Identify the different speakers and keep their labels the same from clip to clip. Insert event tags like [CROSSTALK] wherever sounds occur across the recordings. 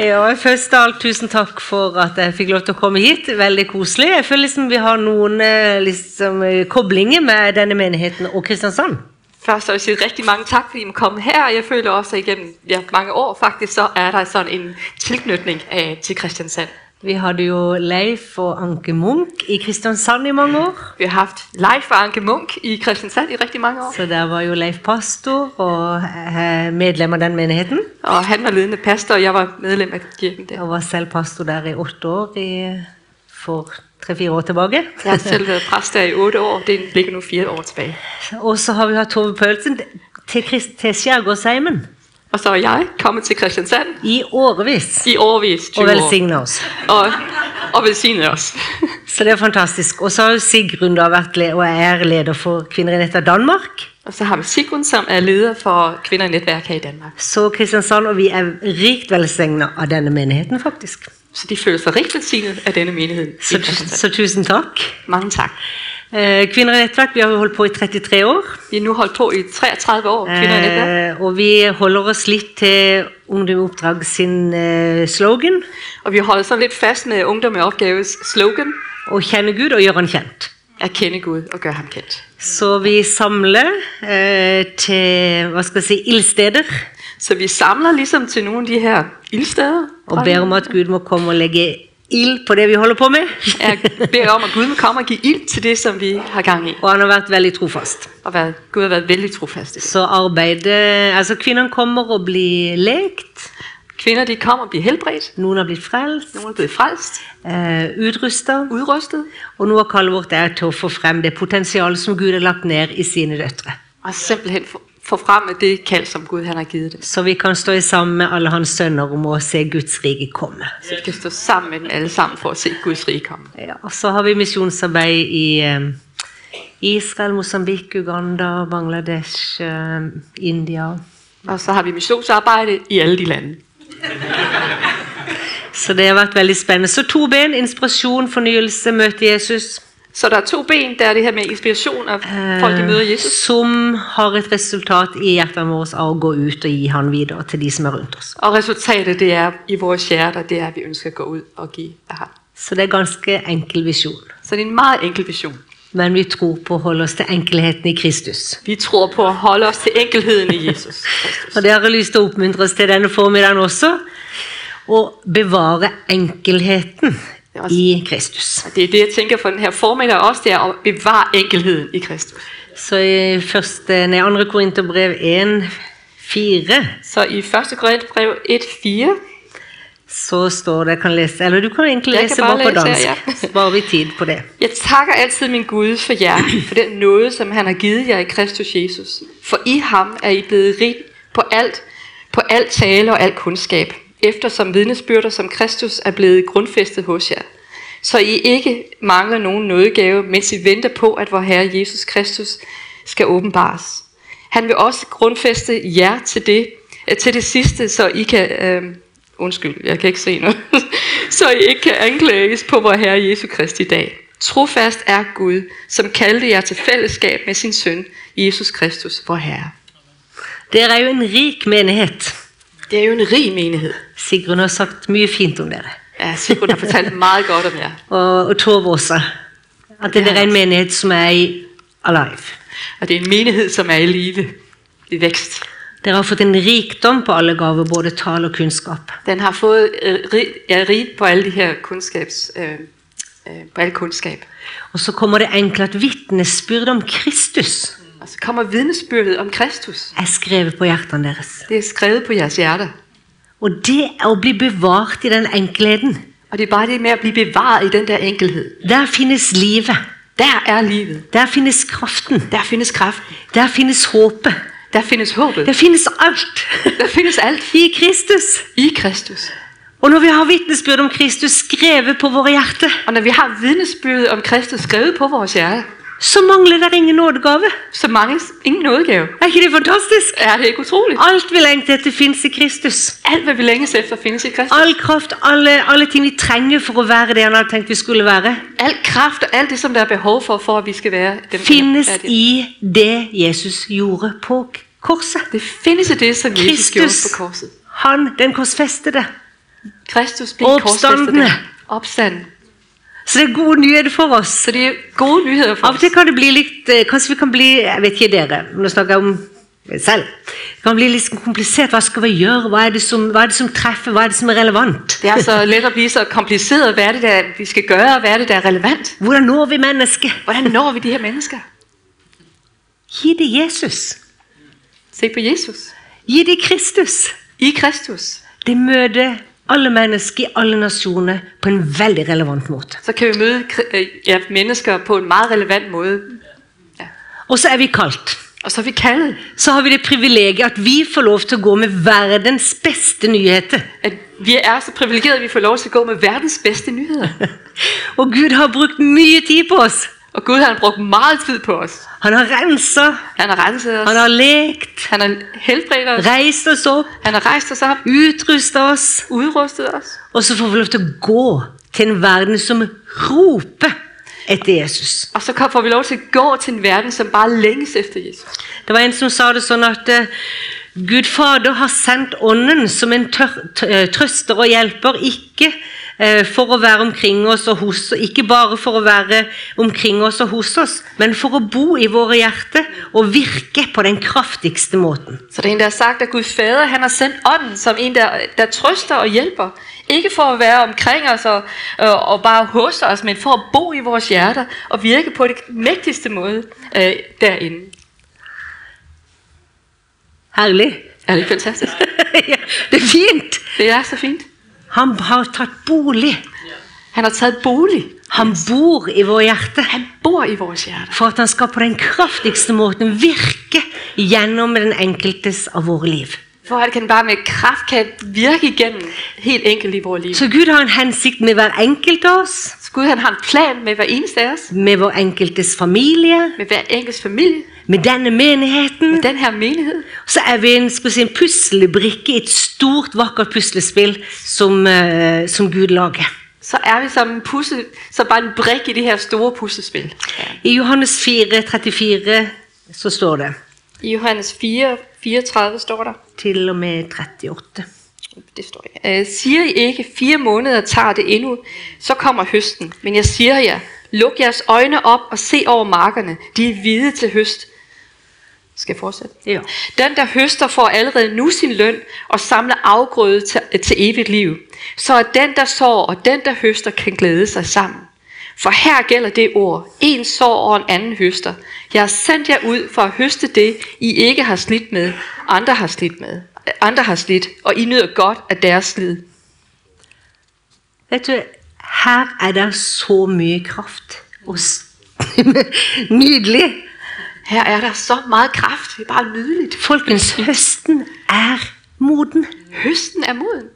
Speaker 1: Ja, først av alt tusen takk for at jeg fikk lov til å komme hit. Veldig koselig. Jeg føler liksom vi har noen eh, liksom, eh, koblinger med denne menigheten og Kristiansand.
Speaker 2: Først vil jeg si rigtig mange tak, fordi I må komme her. Jeg føler også, at igennem ja, mange år faktisk, så er der sådan en tilknytning øh, til Kristiansand.
Speaker 1: Vi hadde jo Leif og Anke Munch i Kristiansand i mange år.
Speaker 2: Vi har haft Leif og Anke Munk i Kristiansand i rigtig mange år.
Speaker 1: Så der var jo Leif pastor og eh, medlem av den menigheten.
Speaker 2: Og han var ledende pastor, og jeg var medlem af kirken der.
Speaker 1: Jeg var selv pastor der i åtte år i, for tre-fire år tilbake.
Speaker 2: Jeg har selv været præst der i otte år. Det ligger nu fire år tilbage.
Speaker 1: [LAUGHS] Og så har vi hatt Tove Paulsen til, Krist- til Skjærgårdsheimen
Speaker 2: Og så er jeg kommet til Kristiansand
Speaker 1: i årevis.
Speaker 2: i årvis 20
Speaker 1: Og
Speaker 2: år.
Speaker 1: velsigna oss.
Speaker 2: Og, og velsignet os.
Speaker 1: Så det er fantastisk. Og så har jo Sigrun da vært le og er leder for Kvinner i nett av Danmark.
Speaker 2: [LAUGHS] Og så har vi Sigrun, som er leder for Kvinder i Netværk her i Danmark.
Speaker 1: Så Kristiansand og vi er rikt velsigna av denne menigheten, faktisk.
Speaker 2: Så de føler sig rigtig velsignet af denne menighed i
Speaker 1: Så, tu-
Speaker 2: Kristiansand.
Speaker 1: så tusen takk.
Speaker 2: Mange tak.
Speaker 1: Eh, Kvinner i nettverk, vi har jo holdt på i 33 år.
Speaker 2: Vi har nu holdt på i 33 år, Kvinder i Netværk.
Speaker 1: Eh, og vi holder oss litt til Ungdom i Oppdrag sin eh, slogan
Speaker 2: Og vi holder sådan lidt fast med Ungdom i Opgaves slogan,
Speaker 1: 'Å kjenne Gud og gjøre Han kjent'.
Speaker 2: at kende Gud og gøre ham kendt.
Speaker 1: Så vi samler eh, til hva skal jeg si, ildsteder
Speaker 2: Så vi samler ligesom til nogle af de her ildsteder,
Speaker 1: og ber om at Gud må komme og legge ild på det vi holder på med.
Speaker 2: Jeg beder om, at Gud vil komme og give ild til det, som vi har gang i.
Speaker 1: Og han har vært veldig trofast.
Speaker 2: Og været, Gud har været vældig trofast i det.
Speaker 1: Så arbeidet Altså, kvinnene kommer og blir lekt.
Speaker 2: Kvinder, de kommer og bliver helbredt.
Speaker 1: Noen har blitt frelst,
Speaker 2: Nogle er blevet frelst,
Speaker 1: eh, utrusta.
Speaker 2: udrustet.
Speaker 1: Og noe av kallet vårt er til å få frem det potensialet som Gud har lagt ned i sine døtre.
Speaker 2: Og simpelthen få- få frem med det kald, som Gud han har givet dem.
Speaker 1: Så vi kan stå sammen med alle hans sønner om å se Guds rike komme.
Speaker 2: Så vi kan stå sammen med dem alle sammen for at se Guds rige komme.
Speaker 1: Ja, og så har vi misjonsarbeid i eh, Israel, Mosambik, Uganda, Bangladesh, eh, India.
Speaker 2: Og så har vi missionsarbejde i alle de lande.
Speaker 1: Så det har vært veldig spennende. Så to ben, inspirasjon, fornyelse, møte Jesus.
Speaker 2: Så der er to ben. Der er det her med inspiration og folk, de møder
Speaker 1: Eh,
Speaker 2: Jesus.
Speaker 1: som har et resultat i hjertene våre av å gå ut og gi han videre til de som er rundt oss.
Speaker 2: Og resultatet, det er i vores hjerter, det er, at vi ønsker at gå ud og give af ham.
Speaker 1: Så det er ganske enkel visjon.
Speaker 2: Så det er en meget enkel vision.
Speaker 1: Men vi tror på å holde oss til enkelheten i Kristus.
Speaker 2: Vi tror på at holde os til enkelheden i Jesus Kristus.
Speaker 1: Og det har jeg lyst til å oppmuntre oss til denne formiddagen også. Å bevare enkelheten
Speaker 2: Ja, altså.
Speaker 1: i Kristus.
Speaker 2: Og Det er det, jeg tænker for den her formiddag også, det er at bevare enkelheden i Kristus.
Speaker 1: Så i første, nei, andre Korinterbrev 1, 4,
Speaker 2: Så i 1. Korintherbrev 1.4,
Speaker 1: så står det, jeg kan lese, eller du kan egentlig
Speaker 2: Jeg kan
Speaker 1: lese
Speaker 2: bare
Speaker 1: bare, på
Speaker 2: lese,
Speaker 1: dansk,
Speaker 2: ja.
Speaker 1: sparer vi tid på det.
Speaker 2: Jeg takker altid min Gud for jer, for den nåde, som han har givet jer i Kristus Jesus. For i ham er I blevet rig på alt, på alt tale og alt kundskab, eftersom vidnesbyrder som Kristus er blevet grundfæstet hos jer. Så I ikke mangler nogen nådegave, mens I venter på, at vor Herre Jesus Kristus skal åbenbares. Han vil også grundfæste jer til det, eh, til det sidste, så I kan... Øh, undskyld, jeg kan ikke se noget. [LAUGHS] så I ikke kan anklages på vor Herre Jesu Kristi dag. Trofast er Gud, som kaldte jer til fællesskab med sin søn, Jesus Kristus, vor Herre.
Speaker 1: Dere er jo en rik menighet.
Speaker 2: Det er jo en rig menighed.
Speaker 1: Sigrun har sagt mye fint om dere.
Speaker 2: Ja, Sigrun har fortalt meget godt om jer.
Speaker 1: Og, og Tove også. At dere er en menighet som er i alive.
Speaker 2: Og det er en menighed, som er i live, i vækst.
Speaker 1: Dere har fått en rikdom på alle gaver, både tal og kunnskap.
Speaker 2: Den har fået øh, rig, ja, rig på alle de her kundskabs, øh, øh, på alle kundskab.
Speaker 1: Og så kommer det enkle at vitnesbyrd om Kristus
Speaker 2: Og så kommer vidnesbyrdet om Kristus.
Speaker 1: er skrevet på hjertene deres.
Speaker 2: Det er skrevet på jeres hjerter.
Speaker 1: Og det er å bli bevart i den enkelheten.
Speaker 2: Og det er bare det med at blive bevaret i den der enkelhed.
Speaker 1: Der finnes livet.
Speaker 2: Der er livet.
Speaker 1: Der finnes kraften.
Speaker 2: Der findes kraften.
Speaker 1: Der finnes håpet.
Speaker 2: Der findes håbet.
Speaker 1: Der finnes alt [LAUGHS]
Speaker 2: Der findes alt
Speaker 1: i Kristus.
Speaker 2: i Kristus.
Speaker 1: Og når vi har vitnesbyrd om Kristus skrevet på våre hjerter,
Speaker 2: Og når vi har vidnesbyrdet om Kristus skrevet på vores hjerte,
Speaker 1: så mangler det ingen nådegave.
Speaker 2: så mangles ingen nådegave.
Speaker 1: Er ikke det fantastisk?
Speaker 2: Er det ikke utroligt?
Speaker 1: Alt vi lengter etter, fins i Kristus.
Speaker 2: Alt, hvad vi længes efter, findes i Kristus.
Speaker 1: All kraft, alle, alle ting vi trenger for å være det han hadde tenkt vi skulle være,
Speaker 2: Alt kraft og alt det, som der er behov for, for at vi skal være dem,
Speaker 1: finnes
Speaker 2: der er det.
Speaker 1: i det Jesus gjorde på k- korset.
Speaker 2: Det findes i det, som Jesus gjorde
Speaker 1: Kristus.
Speaker 2: på korset.
Speaker 1: Han, den korsfestede,
Speaker 2: Kristus blev
Speaker 1: Opstanden.
Speaker 2: korsfæstet. Opstanden.
Speaker 1: Så det er gode nyheter for oss.
Speaker 2: Så det er gode nyheder for
Speaker 1: Av og
Speaker 2: os.
Speaker 1: til kan det bli litt eh, Kanskje vi kan bli Jeg vet ikke dere, nå snakker jeg om meg selv. Det kan bli litt sånn komplisert. Hva skal vi gjøre? Hva er, det som, hva er det som treffer? Hva er det som er relevant?
Speaker 2: Det er så let at blive så kompliceret, hvad er det, der, vi skal gøre, og hvad er det, der er relevant.
Speaker 1: Hvordan når vi mennesket?
Speaker 2: Hvordan når vi de her mennesker?
Speaker 1: Gi det Jesus.
Speaker 2: Se på Jesus.
Speaker 1: Gi det Kristus.
Speaker 2: I Kristus.
Speaker 1: Det møter alle mennesker i alle nasjoner på en veldig relevant måte.
Speaker 2: Så kan vi møde kri- øh, ja, mennesker på en meget relevant måde.
Speaker 1: Og så er vi kalt.
Speaker 2: Og så er vi kaldet,
Speaker 1: Så har vi det privilegiet at vi får lov til å gå med verdens beste nyheter. [LAUGHS]
Speaker 2: at vi er så privilegerede, at vi får lov til at gå med verdens bedste nyheder.
Speaker 1: Og Gud har brukt mye tid på oss.
Speaker 2: Og Gud han har brugt meget tid på os.
Speaker 1: Han har rensa,
Speaker 2: Han har renset os.
Speaker 1: han har lekt,
Speaker 2: Han har helbredt os.
Speaker 1: reist oss opp,
Speaker 2: Han har rejst os op.
Speaker 1: utrusta oss.
Speaker 2: Udrustet os.
Speaker 1: Og så får vi lov til å gå til en verden som roper etter Jesus.
Speaker 2: Og så får vi lov til at gå til en verden, som bare længes efter Jesus.
Speaker 1: Det var en som sa det sånn at eh, Gud Fader har sendt Ånden som en tør, t- eh, trøster og hjelper, ikke eh, for å være omkring oss og hos oss, ikke bare for å være omkring oss og hos oss, men for å bo i våre hjerter og virke på den kraftigste måten.
Speaker 2: Så det er en, der har sagt, at Gud Fader han har sendt ånden som en, der, der trøster og hjælper. Ikke for at være omkring os og, og, og bare hos os, men for at bo i vores hjerter og virke på det mægtigste måde øh, derinde.
Speaker 1: Herlig. [LAUGHS]
Speaker 2: Er det ikke fantastisk?
Speaker 1: Ja, det er fint.
Speaker 2: Det er så fint.
Speaker 1: Han har tatt bolig.
Speaker 2: Han har taget bolig.
Speaker 1: Han bor i våre hjerter
Speaker 2: Han bor i vores hjerter.
Speaker 1: for at han skal på den kraftigste måten virke gjennom den enkeltes av våre liv.
Speaker 2: For at han bare med kraft kan virke igennem helt enkelt i vores liv.
Speaker 1: Så Gud har en hensikt med hver enkelt av oss,
Speaker 2: Så Gud han har en plan med hver eneste af os,
Speaker 1: med vår enkeltes familie,
Speaker 2: med hver enkelt familie,
Speaker 1: med denne menigheten.
Speaker 2: med den her menighed.
Speaker 1: Så er vi en, skal vi si, en puslebrikke i et stort, vakkert puslespill som, eh, som Gud lager.
Speaker 2: Så er vi som en pusse, så bare en brik i det her store puslespil. Ja.
Speaker 1: I Johannes 4, 34 så står det
Speaker 2: I Johannes 4, 34 står der,
Speaker 1: til og med 38.
Speaker 2: det står ikke, øh, siger I ikke, fire måneder tager det endnu, så kommer høsten. Men jeg siger jer, luk jeres øjne op og se over markerne, de er hvide til høst. Skal jeg fortsætte?
Speaker 1: Ja.
Speaker 2: Den, der høster, får allerede nu sin løn og samler afgrøde til, øh, til evigt liv. Så at den, der sår, og den, der høster, kan glæde sig sammen. For her gælder det ord. En sår og en anden høster. Jeg har sendt jer ud for at høste det, I ikke har slidt med, andre har slidt med. Andre har slidt, og I nyder godt af deres slid.
Speaker 1: Vet du, her er det så mye kraft. Og s- [LAUGHS] nydelig.
Speaker 2: Her er der så meget kraft. Det er bare nydeligt.
Speaker 1: Folkens, høsten er moden.
Speaker 2: Høsten er moden.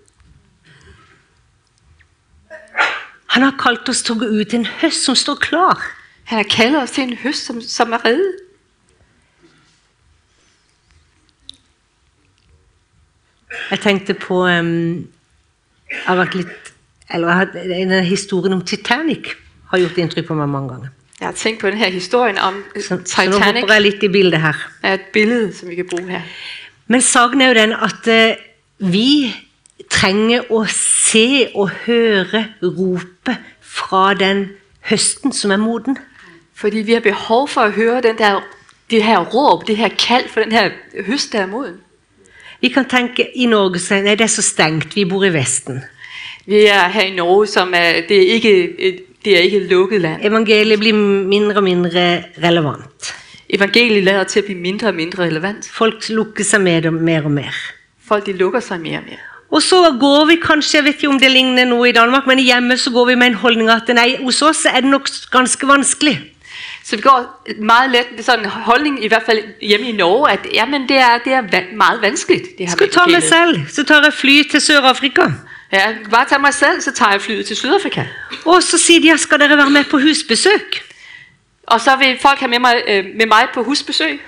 Speaker 1: Han har kalt oss til å gå ut i en høst som står klar.
Speaker 2: Han har kaldet os til en høst, som, som er reddet.
Speaker 1: Jeg tenkte på em, Jeg har vært litt Eller jeg har, denne historien om Titanic har gjort inntrykk på meg mange ganger.
Speaker 2: Jeg har tænkt på den her historien om øh,
Speaker 1: Så, så nå
Speaker 2: Titanic.
Speaker 1: hopper jeg litt i bildet her.
Speaker 2: er et billede, som vi kan bruge her.
Speaker 1: Men saken er jo den at eh, vi trenger å se og høre ropet fra den høsten som er moden.
Speaker 2: Fordi vi har behov for at høre den der, det her råb, det her kald for den her høst, der er moden.
Speaker 1: Vi kan tenke i Norge så, Nei, det er så stengt, vi bor i Vesten.
Speaker 2: Vi er her i Norge, som er, det, er ikke, et, det er ikke et lukket land.
Speaker 1: Evangeliet blir mindre og mindre relevant.
Speaker 2: Evangeliet lader til at blive mindre og mindre relevant.
Speaker 1: Folk lukker seg med det mer og mer.
Speaker 2: Folk de lukker sig mere og mere.
Speaker 1: Og så går vi kanskje, jeg vet ikke om det ligner noe i Danmark, men hjemme så går vi med en holdning at nei, hos oss er det nok ganske vanskelig.
Speaker 2: Så vi går meget let med sådan en holdning, i hvert fald hjemme i Norge, at jamen, det er, det er va- meget vanskeligt, det her
Speaker 1: Skal
Speaker 2: med
Speaker 1: ta meg
Speaker 2: evangeliet.
Speaker 1: selv, så tar jeg fly til Sør-Afrika.
Speaker 2: Ja, bare tag mig selv, så tager jeg flyet til Sydafrika.
Speaker 1: Og så sier de ja, skal dere være med på husbesøk?
Speaker 2: Og så vil folk have med mig, øh, med mig på husbesøg.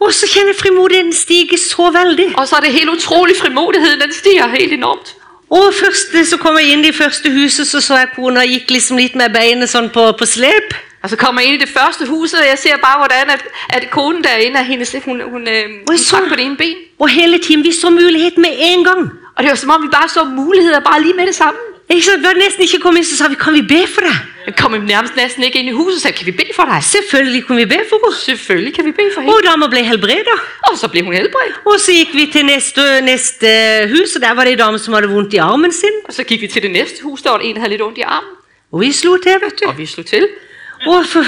Speaker 1: Og så kjenner jeg frimodigheten stige så veldig.
Speaker 2: Og så er det helt utrolig frimodigheden, den stiger helt enormt.
Speaker 1: Og først så kom jeg inn i det første huset, så så jeg kona gikk liksom litt med beinet sånn på, på slep.
Speaker 2: Og så kommer jeg ind i det første hus, og jeg ser bare, hvordan at, at konen derinde, at hendes, hun, hun, øh, hun
Speaker 1: Ui, så-
Speaker 2: trak på det ene ben.
Speaker 1: Og hele tiden, vi så muligheten med en gang.
Speaker 2: Og det var som om, vi bare så muligheder bare lige med det samme.
Speaker 1: Ikke sant? Vi hadde nesten ikke kommet inn, så sa vi, kan vi be for deg?
Speaker 2: Jeg kom nærmest næsten ikke ind i huset og sagde, kan vi bede for dig?
Speaker 1: Selvfølgelig kunne vi be for henne.
Speaker 2: Selvfølgelig kan vi bede for hende.
Speaker 1: Og dama ble helbreda.
Speaker 2: Og så blev hun helbredt.
Speaker 1: Og så gikk vi til neste, neste hus, og der var det ei dame som hadde vondt i armen sin.
Speaker 2: Og så gik vi til det næste hus, der var en, der havde lidt ondt i armen.
Speaker 1: Og vi slo til, vet du.
Speaker 2: Og vi slog til.
Speaker 1: Og for...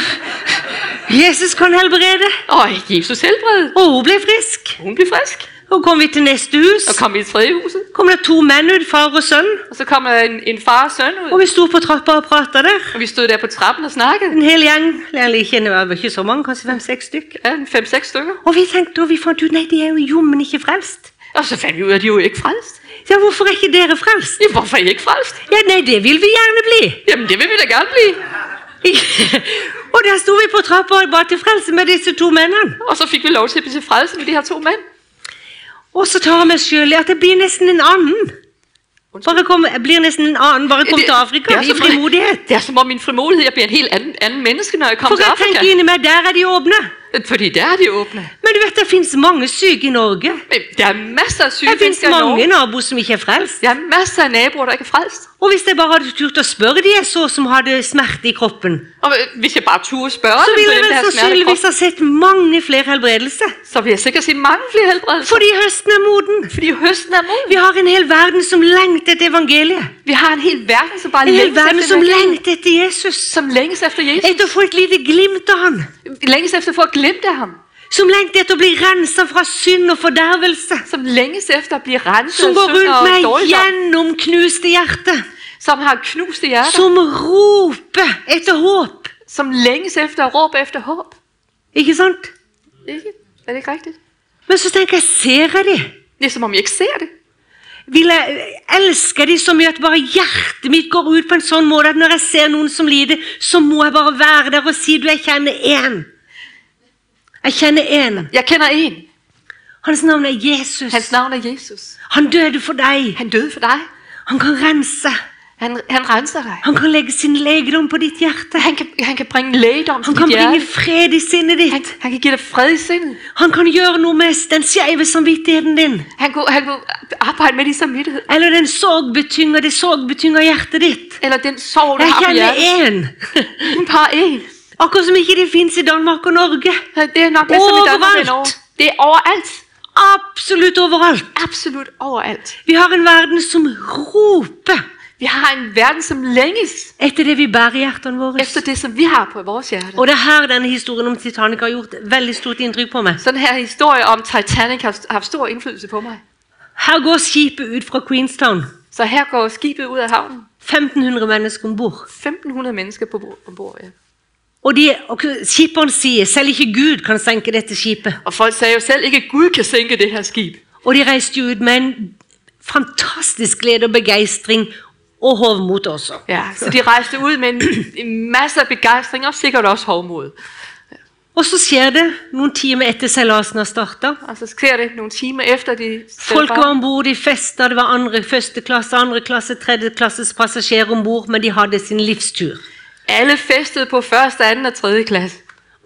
Speaker 1: Jesus kan helbrede.
Speaker 2: Og Jesus helbredede.
Speaker 1: Og hun ble frisk.
Speaker 2: Hun blev frisk.
Speaker 1: Og kom vi til neste hus,
Speaker 2: Og kom vi i tredje huset.
Speaker 1: kom det to menn ut, far og sønn.
Speaker 2: Og så kom der en, en far og søn ud.
Speaker 1: Og vi sto på trappa og prata der.
Speaker 2: Og vi stod der på trappen og snakkede.
Speaker 1: En hel gjeng. Eller ikke, det var ikke så mange, kanskje fem-seks stykk.
Speaker 2: Ja, en fem-seks stykker.
Speaker 1: Og vi tenkte, og vi fant ut, nei, de er jo jommen ikke frelst.
Speaker 2: Og så fandt vi ud af, at de jo ikke frelst.
Speaker 1: Ja, hvorfor er ikke dere frelst?
Speaker 2: Ja, hvorfor er I ikke frelst?
Speaker 1: Ja, nei, det vil vi gjerne bli. [LAUGHS]
Speaker 2: Jamen, det vil vi da gerne blive.
Speaker 1: og der sto vi på trappa og ba til frelse med disse to mennene.
Speaker 2: Og så fik vi lov til at blive til frelse med de her to mænd.
Speaker 1: Og så tar jeg meg sjøl i at jeg blir nesten en annen. Bare kom, jeg blir nesten en annen, bare kom
Speaker 2: Det-
Speaker 1: til Afrika
Speaker 2: det er
Speaker 1: i
Speaker 2: som-
Speaker 1: frimodighet.
Speaker 2: Det er som om min frimodighed, jeg bliver en helt anden, anden menneske, når jeg kommer
Speaker 1: For
Speaker 2: til
Speaker 1: jeg
Speaker 2: Afrika.
Speaker 1: tenker inni meg, der er de åpne.
Speaker 2: Fordi der er de åbne.
Speaker 1: Men du vet, det fins mange syke i Norge.
Speaker 2: Men der er masser af syge
Speaker 1: Det fins
Speaker 2: mennesker i
Speaker 1: mange
Speaker 2: Norge.
Speaker 1: naboer som ikke er frelst.
Speaker 2: Der er masser af naboer, der ikke er frelst.
Speaker 1: Og hvis jeg bare hadde turt å spørre de jeg så som hadde smerte i kroppen,
Speaker 2: Og øh, hvis jeg bare turde spørge
Speaker 1: så
Speaker 2: dem
Speaker 1: ville
Speaker 2: på
Speaker 1: jeg
Speaker 2: den
Speaker 1: vel
Speaker 2: der smertekrop,
Speaker 1: sannsynligvis ha sett mange flere helbredelser.
Speaker 2: så vil jeg sikkert se mange flere helbredelser.
Speaker 1: Fordi høsten er moden.
Speaker 2: Fordi høsten er moden.
Speaker 1: Vi har en hel verden som lengter etter evangeliet.
Speaker 2: Vi har en hel verden, som bare
Speaker 1: En hel
Speaker 2: længes
Speaker 1: verden som
Speaker 2: evangeliet.
Speaker 1: lengter etter Jesus.
Speaker 2: som længes efter Jesus.
Speaker 1: Etter å få et lite glimt av han.
Speaker 2: Længes efter for at glemme af ham.
Speaker 1: Som lengter etter å bli rensa fra synd og fordervelse.
Speaker 2: Som længes efter at blive renset
Speaker 1: Som
Speaker 2: af
Speaker 1: går
Speaker 2: synd
Speaker 1: rundt
Speaker 2: og
Speaker 1: med
Speaker 2: dårligdom.
Speaker 1: gjennomknuste hjerte.
Speaker 2: Som har knuste hjerter.
Speaker 1: Som roper etter håp.
Speaker 2: Som længes efter at råbe efter håb.
Speaker 1: Ikke sant?
Speaker 2: Ikke? Er det ikke rigtigt?
Speaker 1: Men så tenker jeg, ser jeg de?
Speaker 2: Det er som om jeg ikke ser det.
Speaker 1: Vil jeg, elsker de så mye at bare hjertet mitt går ut på en sånn måte at når jeg ser noen som lider, så må jeg bare være der og si du, jeg kjenner én. Jeg kjenner én.
Speaker 2: Jeg kender en.
Speaker 1: Hans navn er Jesus.
Speaker 2: Hans navn er Jesus.
Speaker 1: Han døde for deg.
Speaker 2: Han døde for dig.
Speaker 1: Han kan rense.
Speaker 2: Han, han renser dig.
Speaker 1: Han kan legge sin legedom på ditt hjerte.
Speaker 2: Han kan, han kan bringe lægedom til
Speaker 1: Han kan
Speaker 2: dit hjerte.
Speaker 1: bringe fred i sinnet
Speaker 2: Han,
Speaker 1: ditt.
Speaker 2: han kan give dig fred i sindet.
Speaker 1: Han kan gjøre noe med den skeive samvittigheten din.
Speaker 2: Han kunne, han kunne arbejde med din samvittighed.
Speaker 1: Eller den sorgbetynga, det sorgbetynga hjertet ditt.
Speaker 2: Eller den sorg, du
Speaker 1: Jeg
Speaker 2: har på
Speaker 1: kjenner
Speaker 2: hjertet.
Speaker 1: én.
Speaker 2: Hun har en.
Speaker 1: Akkurat som ikke de fins i Danmark og Norge.
Speaker 2: Det er nok det, som i Danmark
Speaker 1: Overalt.
Speaker 2: er lov. Det er overalt.
Speaker 1: Absolutt overalt.
Speaker 2: Absolut overalt.
Speaker 1: Vi har en verden som roper
Speaker 2: Vi har en verden, som længes
Speaker 1: etter det vi bærer i hjertene våre.
Speaker 2: efter det, som vi har på vores hjerte.
Speaker 1: Og det er her denne historien om Titanic har gjort veldig stort inntrykk på meg.
Speaker 2: Så den her historie om Titanic har haft stor indflydelse på mig.
Speaker 1: Her går skipet ut fra Queenstown.
Speaker 2: Så her går skibet ud af havnen.
Speaker 1: 1500 mennesker om bord.
Speaker 2: 1500 mennesker på bord, ombord. Ja.
Speaker 1: Og, de, og skipperen sier selv ikke Gud kan senke dette skipet.
Speaker 2: Og folk sagde jo selv ikke, at Gud kan sænke det her skib.
Speaker 1: Og de reiste jo ut med en fantastisk glede og begeistring og hovmot også.
Speaker 2: Ja, så de rejste ud med en, en masse af begejstring og sikkert også hovmod.
Speaker 1: Og så skjer det noen timer etter seilasen har starta.
Speaker 2: Og så sker det nogle timer efter, de
Speaker 1: Folk
Speaker 2: bare-
Speaker 1: var om bord, de festa, det var andre, første klasse, andre klasse, tredje klasses passasjerer om bord, men de hadde sin livstur.
Speaker 2: alle festede på første, anden og tredje klasse.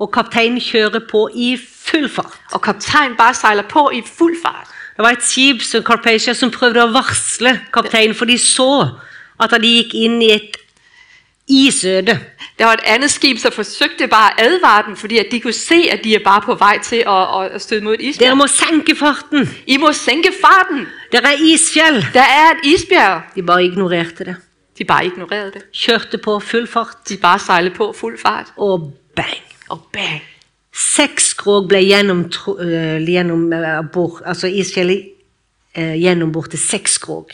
Speaker 1: Og kapteinen kjører på i full fart.
Speaker 2: Og kaptajn bare sejler på i fuld fart.
Speaker 1: Det var et skip som Carpathia som prøvde å varsle kapteinen, for de så at de gikk inn i et isøde.
Speaker 2: Der var et andet skib, som forsøgte bare at advare dem, fordi at de kunne se, at de er bare på vej til at, at, at støde mod et
Speaker 1: Dere
Speaker 2: isbjerg.
Speaker 1: må senke farten!
Speaker 2: I må sænke farten!
Speaker 1: Dere er isfjell!
Speaker 2: Der er et isbjerg!
Speaker 1: De bare ignorerte det.
Speaker 2: De bare ignorerede det.
Speaker 1: Kjørte på full fart,
Speaker 2: De bare sejlede på fuld fart.
Speaker 1: og bang!
Speaker 2: Og bang!
Speaker 1: Seks skrog ble gjennom, gjennom eh, bor, altså isfjellet eh, gjennombort til seks skrog.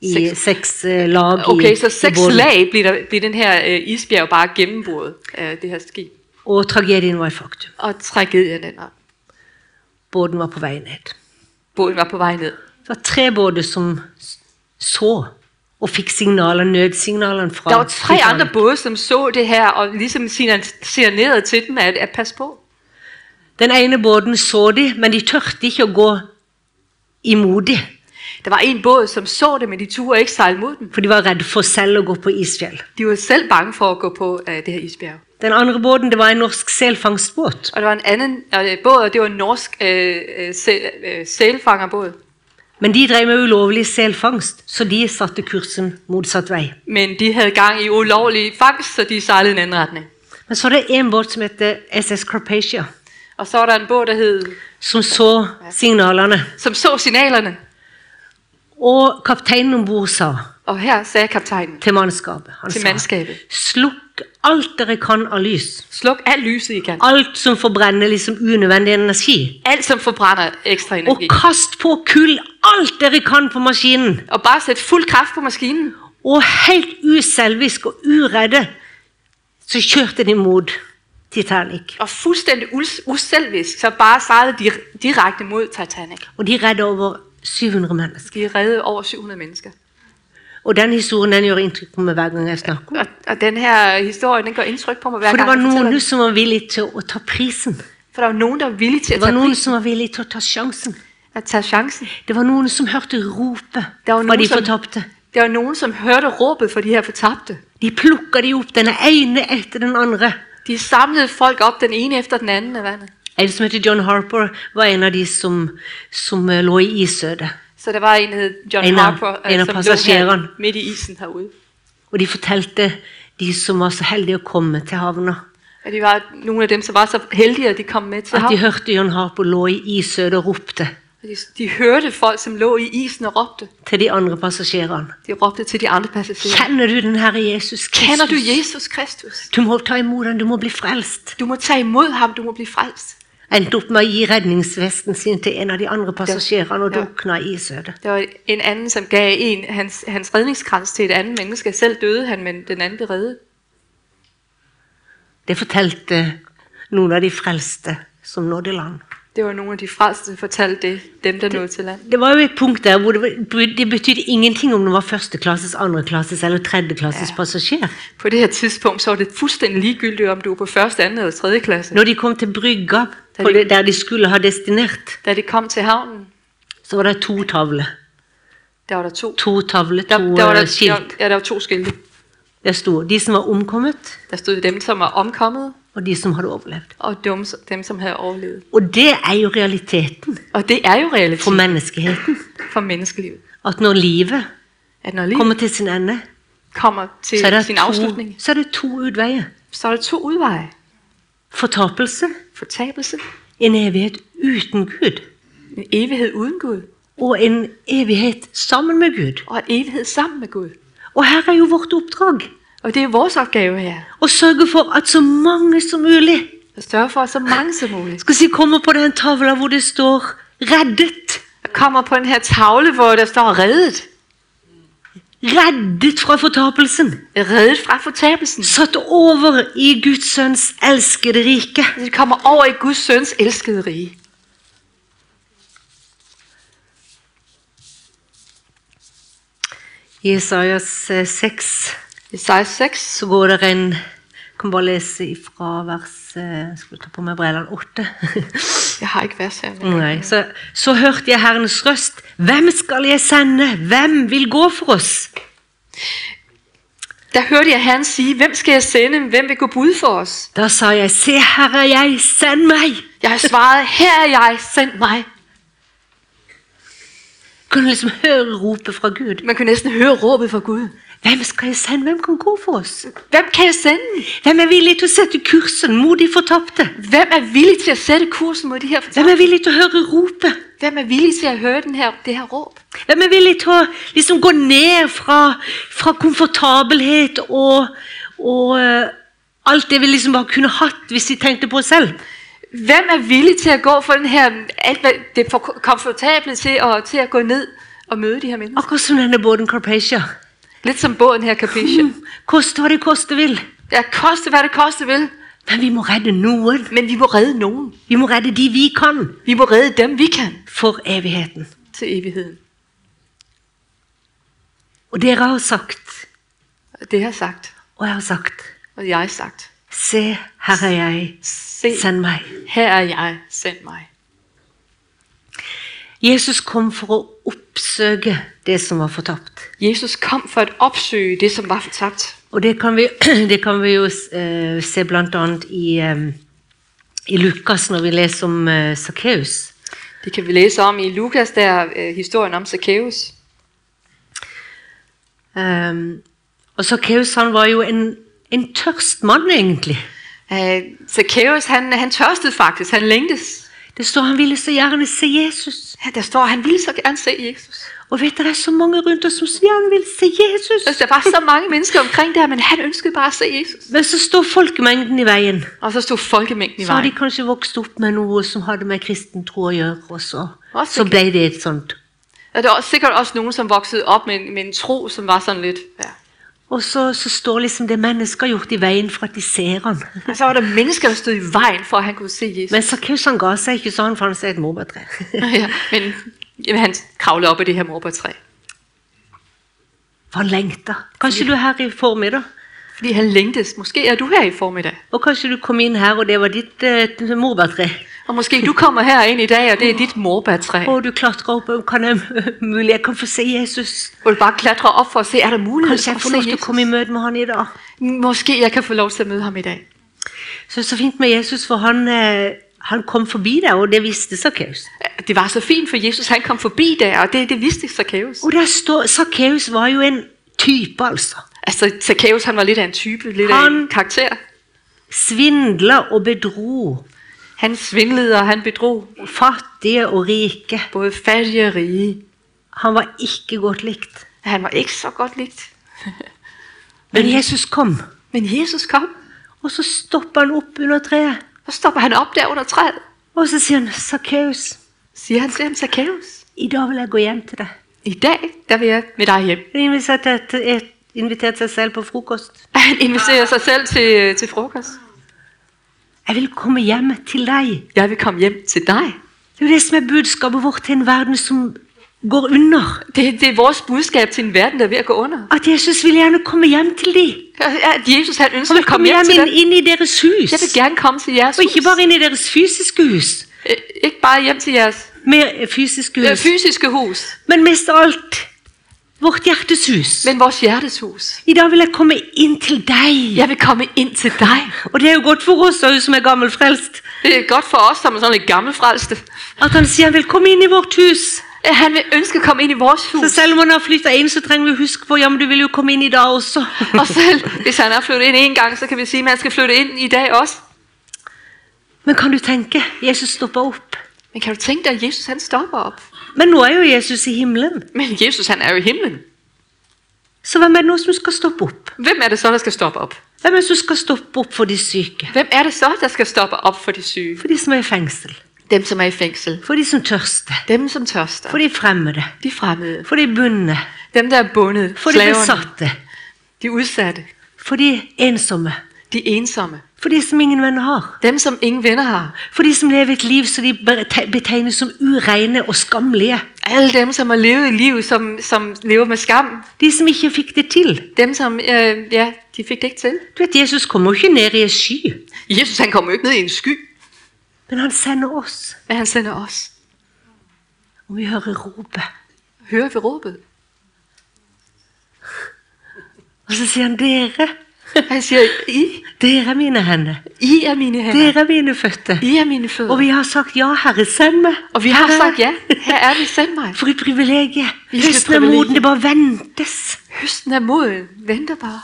Speaker 1: I
Speaker 2: Seks-
Speaker 1: seks, eh, lag
Speaker 2: Okay,
Speaker 1: i,
Speaker 2: så
Speaker 1: i
Speaker 2: seks
Speaker 1: båten.
Speaker 2: lag bliver, der, bliver den her øh, isbjerg bare gennembrudet af det her skib.
Speaker 1: Og tragedien var et faktum.
Speaker 2: Og tragedien den var.
Speaker 1: Båten var på vei ned.
Speaker 2: Båden var på vej ned.
Speaker 1: Det var tre båter som s- så og fikk signaler, nødsignalene fra
Speaker 2: Der var tre
Speaker 1: Titanic.
Speaker 2: andre både, som så det her, og ligesom signa- signalerede til dem, at, at pas på.
Speaker 1: Den ene båten så de, men de tørte ikke å gå imot de,
Speaker 2: Der var en båd, som så det, men de turde ikke sejle mod dem.
Speaker 1: for de var redde for selv å gå på isfjell.
Speaker 2: De var selv bange for at gå på øh, det her isbjerg.
Speaker 1: Den andre båten det var en norsk selfangstbåt.
Speaker 2: Og der var en anden øh, båd, og det var en norsk øh, øh, sæl, øh, sælfangerbåd.
Speaker 1: Men de drev med ulovlig selfangst, så de satte kursen motsatt vei.
Speaker 2: Men de havde gang i ulovlig fangst, så de sejlede i en anden retning.
Speaker 1: Men så er det en båt som heter SS Carpathia,
Speaker 2: Og så var der en båd, der hed,
Speaker 1: som så signalene.
Speaker 2: som så signalerne.
Speaker 1: Og kapteinen om bord sa
Speaker 2: Og her sagde kaptajnen,
Speaker 1: til mannskapet Han
Speaker 2: Til
Speaker 1: sa,
Speaker 2: mannskapet.
Speaker 1: Slukk alt dere kan av lys.
Speaker 2: sluk alt lyset, I kan.
Speaker 1: Alt som forbrenner liksom unødvendig energi.
Speaker 2: Alt, som forbrænder ekstra
Speaker 1: Og
Speaker 2: energi.
Speaker 1: kast på kull alt dere kan på maskinen.
Speaker 2: Og bare sæt fuld kraft på maskinen.
Speaker 1: Og helt uselvisk og uredde så kjørte de mot Titanic.
Speaker 2: Og fuldstændig us- uselvisk, så bare sejlede de direkte mod Titanic.
Speaker 1: Og de redde over 700 mennesker.
Speaker 2: De reddede over 700 mennesker.
Speaker 1: Og den historien den gjør inntrykk på meg hver gang jeg snakker om
Speaker 2: Og, og den her historie, den gør indtryk på mig hver
Speaker 1: For det
Speaker 2: gang,
Speaker 1: var
Speaker 2: jeg fortæller
Speaker 1: noen
Speaker 2: den.
Speaker 1: som var villig til å ta prisen.
Speaker 2: For der var nogen, der var villige til
Speaker 1: Det
Speaker 2: at
Speaker 1: var
Speaker 2: tage,
Speaker 1: noen
Speaker 2: pris,
Speaker 1: som var villig til å ta sjansen.
Speaker 2: at tage chancen.
Speaker 1: Det var noen som hørte ropet
Speaker 2: Det var
Speaker 1: fra
Speaker 2: noen
Speaker 1: de
Speaker 2: som-
Speaker 1: fortapte.
Speaker 2: Der var nogen, som hørte råbet for de her fortabte.
Speaker 1: De plukka de opp, den ene etter den andre.
Speaker 2: De samlede folk op, den ene efter den anden af vandet.
Speaker 1: En som heter John Harper, var en av de som, som eh, lå i isødet.
Speaker 2: Så der var en, der hed John
Speaker 1: En af-
Speaker 2: Harper, øh,
Speaker 1: en af
Speaker 2: som lå
Speaker 1: passagererne.
Speaker 2: her, midt i isen herude.
Speaker 1: Og de fortalte de som var så heldige å komme til havna,
Speaker 2: Og de var nogle af dem, som var så heldige, at de kom med til
Speaker 1: at
Speaker 2: ham.
Speaker 1: de hørte John Harper lå i isødet og ropte
Speaker 2: Og De, de hørte folk, som lå i isen og råbte.
Speaker 1: til de andre passasjerene.
Speaker 2: De råbte til de andre passagerer.
Speaker 1: Kjenner du den Herre Jesus Kristus?
Speaker 2: Kender du Jesus Kristus?
Speaker 1: Du må ta imot ham, du må bli frelst.
Speaker 2: Du må tage imod ham, du må blive frelst.
Speaker 1: Endte opp med å gi redningsvesten sin til en av de andre passasjerene og
Speaker 2: Ja.
Speaker 1: drukna i isødet.
Speaker 2: Der var en anden, som gav en hans, hans redningskrans til et andet menneske. Selv døde han, men den anden blev reddet.
Speaker 1: Det fortalte noen av de frelste som nådde land.
Speaker 2: Det var nogle af de frelste, der fortalte det. Dem, der nåede til land.
Speaker 1: Det var jo et punkt der hvor det, var- det betydde ingenting om det var førsteklasses, andreklasses eller tredjeklasses passasjer.
Speaker 2: På det her tidspunkt, så var det fuldstændig ligegyldigt, om du var på første, anden eller tredje klasse.
Speaker 1: Når de kom til brygga,
Speaker 2: Da
Speaker 1: på
Speaker 2: de-
Speaker 1: det, der de skulle ha destinert,
Speaker 2: Da de kom til havnen,
Speaker 1: så var det to tavler.
Speaker 2: der var der to.
Speaker 1: To tavler,
Speaker 2: Der,
Speaker 1: to
Speaker 2: der, var
Speaker 1: eh,
Speaker 2: der,
Speaker 1: skilt.
Speaker 2: der, ja, der var to skilte.
Speaker 1: Der stod de som var omkommet,
Speaker 2: Der stod dem, som var omkommet,
Speaker 1: og de som hadde overlevd.
Speaker 2: og dem, dem som havde overlevet.
Speaker 1: Og det er jo realiteten
Speaker 2: Og det er jo
Speaker 1: for
Speaker 2: realiteten
Speaker 1: menneskeheten.
Speaker 2: for menneskelivet.
Speaker 1: At når livet
Speaker 2: At når livet
Speaker 1: kommer til sin ende,
Speaker 2: kommer til
Speaker 1: så er det
Speaker 2: sin
Speaker 1: to,
Speaker 2: afslutning,
Speaker 1: så er det to utveier.
Speaker 2: så er der to udveje.
Speaker 1: Fortapelse,
Speaker 2: Fortabelse,
Speaker 1: en evighet uten Gud,
Speaker 2: en evighed uden Gud,
Speaker 1: og en evighet sammen med Gud.
Speaker 2: og en evighed sammen med Gud.
Speaker 1: Og her er jo vårt oppdrag
Speaker 2: Og det er vores opgave her,
Speaker 1: å sørge for at så mange som mulig
Speaker 2: at sørge for, at så mange som muligt
Speaker 1: skal si, kommer på den tavla hvor det står 'reddet'.
Speaker 2: kommer på den her tavle, hvor der står reddet.
Speaker 1: Reddet fra fortapelsen.
Speaker 2: Reddet fra fortabelsen.
Speaker 1: Satt over i Guds sønns elskede rike.
Speaker 2: Det kommer over i Guds søns elskede rige.
Speaker 1: I Isaias eh, 6
Speaker 2: Isaiah 6,
Speaker 1: så går det en Jeg kan bare lese ifra vers eh, Skal vi ta på meg brillene? 8.
Speaker 2: jeg har ikke vers her, men
Speaker 1: [LAUGHS] Nei, så, så hørte jeg Herrens røst. Hvem skal jeg sende? Hvem vil gå for oss?
Speaker 2: der hørte jeg Herren sige, hvem skal jeg sende, hvem vil gå bud for os?
Speaker 1: Da sa jeg, se her er jeg, send meg.
Speaker 2: Jeg svarede, her er jeg, send mig.
Speaker 1: Kunne liksom høre ropet fra Gud.
Speaker 2: Man kunne næsten høre råbet fra Gud.
Speaker 1: Hvem skal jeg sende? Hvem kan gå for oss?
Speaker 2: Hvem kan jeg sende?
Speaker 1: Hvem er villig til å sette kursen mot de fortapte?
Speaker 2: Hvem er villig til at sætte kursen mod de her fortabelser?
Speaker 1: Hvem er villig til å høre ropet?
Speaker 2: Hvem er villig til at høre den her, det her råb?
Speaker 1: Hvem er villig til å liksom ligesom gå ned fra, fra komfortabelhet og, og eh, alt det vi liksom bare kunne hatt hvis vi tenkte på oss selv?
Speaker 2: Hvem er villig til at gå for den her, alt hvad det er for komfortable til, og til at gå ned og møde de her mennesker?
Speaker 1: Akkurat som denne båten Carpathia.
Speaker 2: Lidt som båden her, Capitia.
Speaker 1: Koste hva det koste vil.
Speaker 2: Ja, koste hvad det koste vil,
Speaker 1: Men vi må redde noen.
Speaker 2: men vi må redde nogen.
Speaker 1: Vi må redde de vi kan,
Speaker 2: Vi må redde dem, vi kan,
Speaker 1: for evigheten.
Speaker 2: til evigheden.
Speaker 1: Og dere har sagt,
Speaker 2: Og det har jeg sagt,
Speaker 1: og jeg har sagt,
Speaker 2: og jeg har sagt.
Speaker 1: se, her er jeg,
Speaker 2: Se,
Speaker 1: send meg.
Speaker 2: her er jeg, send mig.
Speaker 1: Jesus kom for å oppsøke det som var fortapt.
Speaker 2: Jesus kom for at opsøge det, som var fortabt.
Speaker 1: Og det kan vi, [CLEARS THROAT] det kan vi jo eh, se bl.a. I, eh, i Lukas, når vi leser om eh, Sakkeus.
Speaker 2: Det kan vi læse om i Lukas, der er øh, historien om Zacchaeus.
Speaker 1: Ehm, og Sakkeus han var jo en, en tørst mann, egentlig.
Speaker 2: Øh, Zacchaeus, han, han tørstede faktisk, han længtes.
Speaker 1: Det står han ville så gjerne se Jesus.
Speaker 2: Ja, Der står, han ville så gerne se Jesus.
Speaker 1: Og vet du, det er så mange rundt oss som så gjerne vil se
Speaker 2: Altså,
Speaker 1: Jesus.
Speaker 2: der var så mange mennesker omkring der, men han ønskede bare at se Jesus.
Speaker 1: Men så står folkemengden i veien.
Speaker 2: Og så stod folkemængden i
Speaker 1: Så har de
Speaker 2: vejen.
Speaker 1: kanskje vokst opp med noe som hadde med kristen tro å gjøre, og så,
Speaker 2: Hva
Speaker 1: så
Speaker 2: sikkert.
Speaker 1: ble det et sånt.
Speaker 2: Og der var sikkert også nogen, som voksede op med, en- med en tro, som var sådan lidt... Ja.
Speaker 1: Og så, så står liksom det mennesket har gjort i veien for at de ser han.
Speaker 2: Og så var der mennesker, der stod i vejen for, at han kunne se Jesus.
Speaker 1: Men Sakkeus han ga seg ikke, så han fant seg et morbærtre.
Speaker 2: [LAUGHS] ja, men jamen, han kravlede op af det her morbærtræ.
Speaker 1: For [LAUGHS] han lengta. Kanskje du er her i formiddag,
Speaker 2: Fordi han længtes. Måske er du her i formiddag.
Speaker 1: og kanskje du kom inn her, og det var ditt eh, morbærtre.
Speaker 2: Og måske du kommer her ind i dag, og det er dit morbærtræ.
Speaker 1: Og du klatra opp, og kan jeg [LAUGHS] mulig jeg kan få se Jesus?
Speaker 2: Hvor du bare klatrer op for at se, er der mulighed
Speaker 1: Kanskje jeg får
Speaker 2: for at
Speaker 1: lov
Speaker 2: se
Speaker 1: til å
Speaker 2: Jesus?
Speaker 1: komme i møte med han i dag?
Speaker 2: Måske jeg kan få lov til at møde ham i dag.
Speaker 1: Så så fint med Jesus, for han, eh, han kom forbi deg, og det visste Sakkeus.
Speaker 2: Det var så fint, for Jesus han kom forbi der, og det, det vidste Zacchaeus.
Speaker 1: Og der står, Sakkeus var jo en type, altså.
Speaker 2: Altså, Zacchaeus han var lidt af en type, lidt af
Speaker 1: Han-
Speaker 2: en karakter.
Speaker 1: Svindla og bedro.
Speaker 2: Han svindlede, og han bedrog
Speaker 1: Fattige og rike.
Speaker 2: både fattige og rige.
Speaker 1: Han var ikke godt likt.
Speaker 2: Han var ikke så godt likt.
Speaker 1: Men Jesus kom,
Speaker 2: Men Jesus kom,
Speaker 1: og så stopper han opp under treet.
Speaker 2: og stopper han op der under træet.
Speaker 1: Og så sier han, Sakkeus,
Speaker 2: Siger han til ham, Zacchaeus,
Speaker 1: i dag vil jeg gå hjem til deg.
Speaker 2: i dag der vil jeg med dig hjem.
Speaker 1: Han inviterte, til- et- inviterte seg selv på frokost.
Speaker 2: [LAUGHS] Han inviterer sig selv til, til frokost.
Speaker 1: Jeg vil komme hjem til deg.
Speaker 2: Jeg vil komme hjem til dig.
Speaker 1: Det er jo det som er budskapet vårt til en verden som går under.
Speaker 2: Det, det er vores budskab til en verden, der er ved at gå under.
Speaker 1: At Jesus vil gjerne komme hjem til dem.
Speaker 2: At Jesus han
Speaker 1: Han
Speaker 2: ønsker
Speaker 1: vil
Speaker 2: at
Speaker 1: komme
Speaker 2: komme
Speaker 1: hjem
Speaker 2: hjem til
Speaker 1: inn,
Speaker 2: dig.
Speaker 1: inn i deres hus.
Speaker 2: Jeg vil gerne komme til jeres
Speaker 1: Og ikke
Speaker 2: hus.
Speaker 1: bare inn i deres fysiske hus,
Speaker 2: Øh, Ikke bare hjem til jeres
Speaker 1: med fysiske
Speaker 2: øh,
Speaker 1: hus,
Speaker 2: fysiske hus,
Speaker 1: men mest av alt vårt hjertes hus.
Speaker 2: men vores hjertes hus.
Speaker 1: I dag vil jeg komme inn til deg.
Speaker 2: Jeg vil komme ind til dig.
Speaker 1: Og det er jo godt for oss også, som er gammelfrelst,
Speaker 2: Det er godt for os, som er sådan lidt gammelfrelste.
Speaker 1: at han sier han vil komme inn i vårt hus.
Speaker 2: At Han vil ønske at komme ind i vores
Speaker 1: Så
Speaker 2: hus.
Speaker 1: selv om han har flytta inn, så trenger vi å huske på ja, men du vil jo komme inn i dag også.
Speaker 2: Og selv [LAUGHS] hvis han har flyttet ind en gang, så kan vi sige, at man skal flytte ind i dag også.
Speaker 1: Men kan du tenke? Jesus stopper opp.
Speaker 2: Men kan du tænke dig, at Jesus han stopper op?
Speaker 1: Men nå er jo Jesus i himmelen,
Speaker 2: Men Jesus han er jo i himlen.
Speaker 1: så hvem er det nå som skal stoppe opp?
Speaker 2: Hvem er det så, der skal stoppe op?
Speaker 1: Hvem er det som skal stoppe opp for de syke?
Speaker 2: Hvem er det så, der skal stoppe op for de syge?
Speaker 1: For de som er i fengsel.
Speaker 2: Dem, som er i fængsel.
Speaker 1: For de som tørster.
Speaker 2: Dem, som tørster.
Speaker 1: For de fremmede.
Speaker 2: De fremmede.
Speaker 1: For de bundne.
Speaker 2: Dem, der er bundet.
Speaker 1: For de
Speaker 2: Slaverne.
Speaker 1: besatte.
Speaker 2: De udsatte.
Speaker 1: For de ensomme.
Speaker 2: De ensomme.
Speaker 1: For de som ingen venner har.
Speaker 2: Dem, som ingen venner har.
Speaker 1: For de som lever et liv som de bete- betegnes som ureine og skammelige.
Speaker 2: Alle dem, som har levet et liv, som, som lever med skam.
Speaker 1: De som ikke fikk det til.
Speaker 2: Dem, som, øh, ja, de fik det ikke til.
Speaker 1: Du vet, Jesus kommer jo ikke ned i en sky,
Speaker 2: Jesus, han kommer jo ikke ned i en sky,
Speaker 1: men han sender oss.
Speaker 2: men han sender os.
Speaker 1: Og vi hører ropet.
Speaker 2: Hører vi råbet?
Speaker 1: Og så sier han, dere,
Speaker 2: Han siger, I,
Speaker 1: dere er mine hender.
Speaker 2: I er mine hænder.
Speaker 1: Dere er mine føtter.
Speaker 2: I er mine
Speaker 1: Og
Speaker 2: fødder.
Speaker 1: vi har sagt, ja, Herre, send meg.
Speaker 2: Og vi har
Speaker 1: Herre,
Speaker 2: sagt ja. Her er vi, send mig.
Speaker 1: For et privilegie.
Speaker 2: Hvilket
Speaker 1: Høsten er
Speaker 2: privilegium.
Speaker 1: moden, det bare ventes.
Speaker 2: Høsten er moden. Venter bare.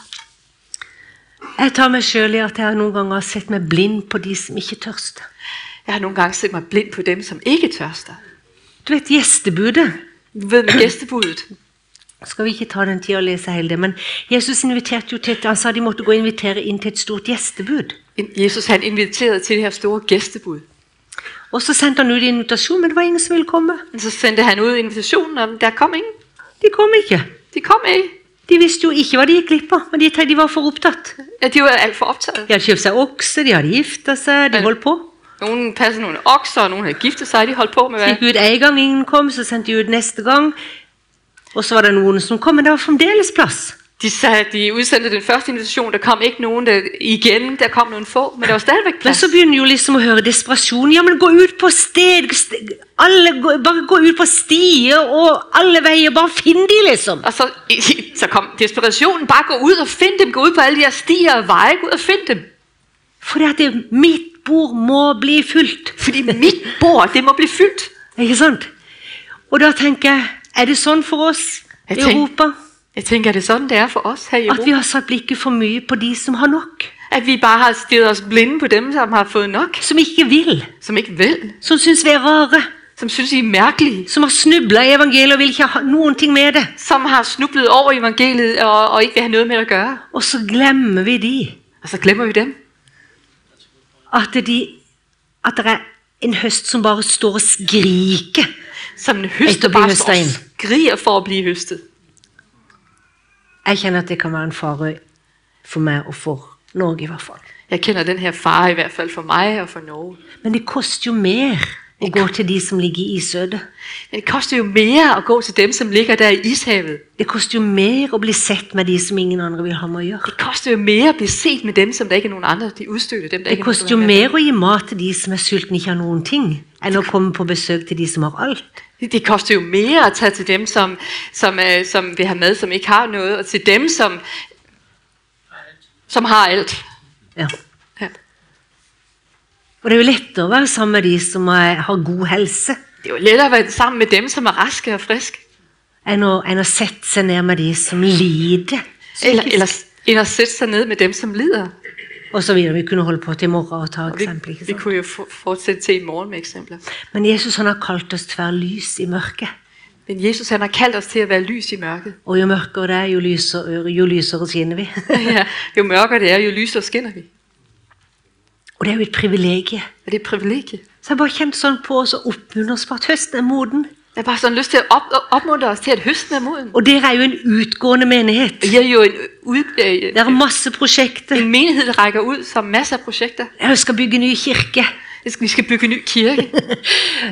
Speaker 1: Jeg tar meg sjøl i at jeg noen ganger har sett meg blind på de som ikke tørster.
Speaker 2: Jeg har nogle gange set mig blind på dem, som ikke tørster.
Speaker 1: Du vet gjestebudet.
Speaker 2: Du ved, med gæstebudet.
Speaker 1: Skal vi ikke ta den tida å lese hele det, men Jesus inviterte jo til et, han sa de måtte gå og invitere inn til et stort gjestebud.
Speaker 2: Jesus, han inviterede til det her store gæstebud.
Speaker 1: Og så sendte han ut invitasjon, men det var ingen som ville komme.
Speaker 2: Men Så sendte han ud invitationen, og der kom ingen.
Speaker 1: De kom ikke.
Speaker 2: De kom ikke.
Speaker 1: De visste jo ikke hva de gikk glipp av, men de, de var for opptatt.
Speaker 2: Ja, de var alt for optaget.
Speaker 1: De hadde kjøpt seg okse, de hadde gifta seg, de holdt på.
Speaker 2: Nogen passede nogle okser, og nogen havde giftet sig, de holdt på med hvad.
Speaker 1: Fikk ut én gang, ingen kom, så sendte de ut neste gang. Og så var det noen som kom, men det var fremdeles plass.
Speaker 2: De, sagde, de udsendte den første invitation, der kom ikke nogen der, igen, der kom noen få, men der var stadigvæk
Speaker 1: Men
Speaker 2: plads.
Speaker 1: så begynner jo liksom å høre desperasjon. Ja, men gå ut på sted st- alle, gå- Bare gå ut på stier og alle veier. Bare finn de, liksom.
Speaker 2: Og så, [LAUGHS] så kom desperationen, bare gå ud og find dem, gå ud på alle de her stier og veje, gå ud og find dem.
Speaker 1: For det at det, mitt bord må bli fylt.
Speaker 2: Fordi mit bord, det må blive fyldt.
Speaker 1: Ikke sant? Og da tenker jeg Er det sånn for oss i
Speaker 2: Jeg tenk-
Speaker 1: Europa?
Speaker 2: Jeg tænker, er det sådan, det er for os her i
Speaker 1: At
Speaker 2: Europa?
Speaker 1: vi har satt blikket for mye på de som har nok?
Speaker 2: At vi bare har stirret os blinde på dem, som har fået nok,
Speaker 1: Som ikke vil?
Speaker 2: som ikke vil,
Speaker 1: Som syns vi er rare?
Speaker 2: som synes, I er mærkelige,
Speaker 1: Som har snubla i evangeliet og vil ikke ha noen ting med det?
Speaker 2: som har snublet over evangeliet og, og ikke vil have noget med at gøre.
Speaker 1: Og så glemmer vi de.
Speaker 2: Og så glemmer vi dem.
Speaker 1: At, de, at det er en høst som bare står og skriker.
Speaker 2: Som en
Speaker 1: Ikke
Speaker 2: høster
Speaker 1: at blive
Speaker 2: bare
Speaker 1: høstet
Speaker 2: står og
Speaker 1: ind.
Speaker 2: skriger for at blive høstet.
Speaker 1: Jeg kjenner at det kan være en fare for meg og for Norge, i hvert fall.
Speaker 2: Jeg kender den her fare i hvert fald for mig og for Norge.
Speaker 1: Men det koster jo mer å gå til de som ligger i isødet.
Speaker 2: Men det koster jo mere at gå til dem, som ligger der i ishavet.
Speaker 1: Det koster jo mer å bli sett med de som ingen andre vil ha med å gjøre.
Speaker 2: Det koster jo mere at blive set med dem, som der ikke er nogen andre. De udstøtte dem, der
Speaker 1: Det
Speaker 2: ikke er nogen
Speaker 1: koster jo
Speaker 2: andre.
Speaker 1: mer å gi mat til de som er sultne og ikke har noen ting, enn å komme på besøk til de som har alt.
Speaker 2: Det, det koster jo mere at tage til dem, som, som, øh, som vil have mad, som ikke har noget, og til dem, som, som har alt.
Speaker 1: Ja.
Speaker 2: Ja.
Speaker 1: Og det er jo lettere å være sammen med de som er, har god helse,
Speaker 2: Det er jo lettere at være sammen med dem, som er raske og friske,
Speaker 1: enn å, enn å sette seg ned med de som lider.
Speaker 2: eller, eller, end at sætte sig ned med dem, som lider.
Speaker 1: Og så videre. Vi kunne holde på til i morgen og ta
Speaker 2: Og vi,
Speaker 1: eksempler.
Speaker 2: vi
Speaker 1: Ikke sant?
Speaker 2: kunne jo for, fortsætte til i morgen med eksempler.
Speaker 1: Men Jesus han har kalt oss til å være lys i mørket.
Speaker 2: Men Jesus han har kaldt os til at være lys i mørket.
Speaker 1: [LAUGHS] Og jo mørkere det er, jo lysere, jo lysere skinner vi. [LAUGHS]
Speaker 2: ja, jo mørkere det er, jo lysere skinner vi.
Speaker 1: og det er jo et privilegium.
Speaker 2: Og det er et privilegie.
Speaker 1: Så jeg har bare kjent sånn på oss og oppmuntre oss på at høsten er moden.
Speaker 2: Jeg har bare sådan lyst til at op, opmuntre os til, at høsten er moden.
Speaker 1: Og dere er jo en utgående menighet.
Speaker 2: Og I er jo en, ud, øh,
Speaker 1: Det er masse prosjekter.
Speaker 2: en menighed, der rækker ud, som masser af projekter.
Speaker 1: Jeg skal bygge ny kirke.
Speaker 2: Vi skal- Vi skal bygge en ny [LAUGHS] kirke,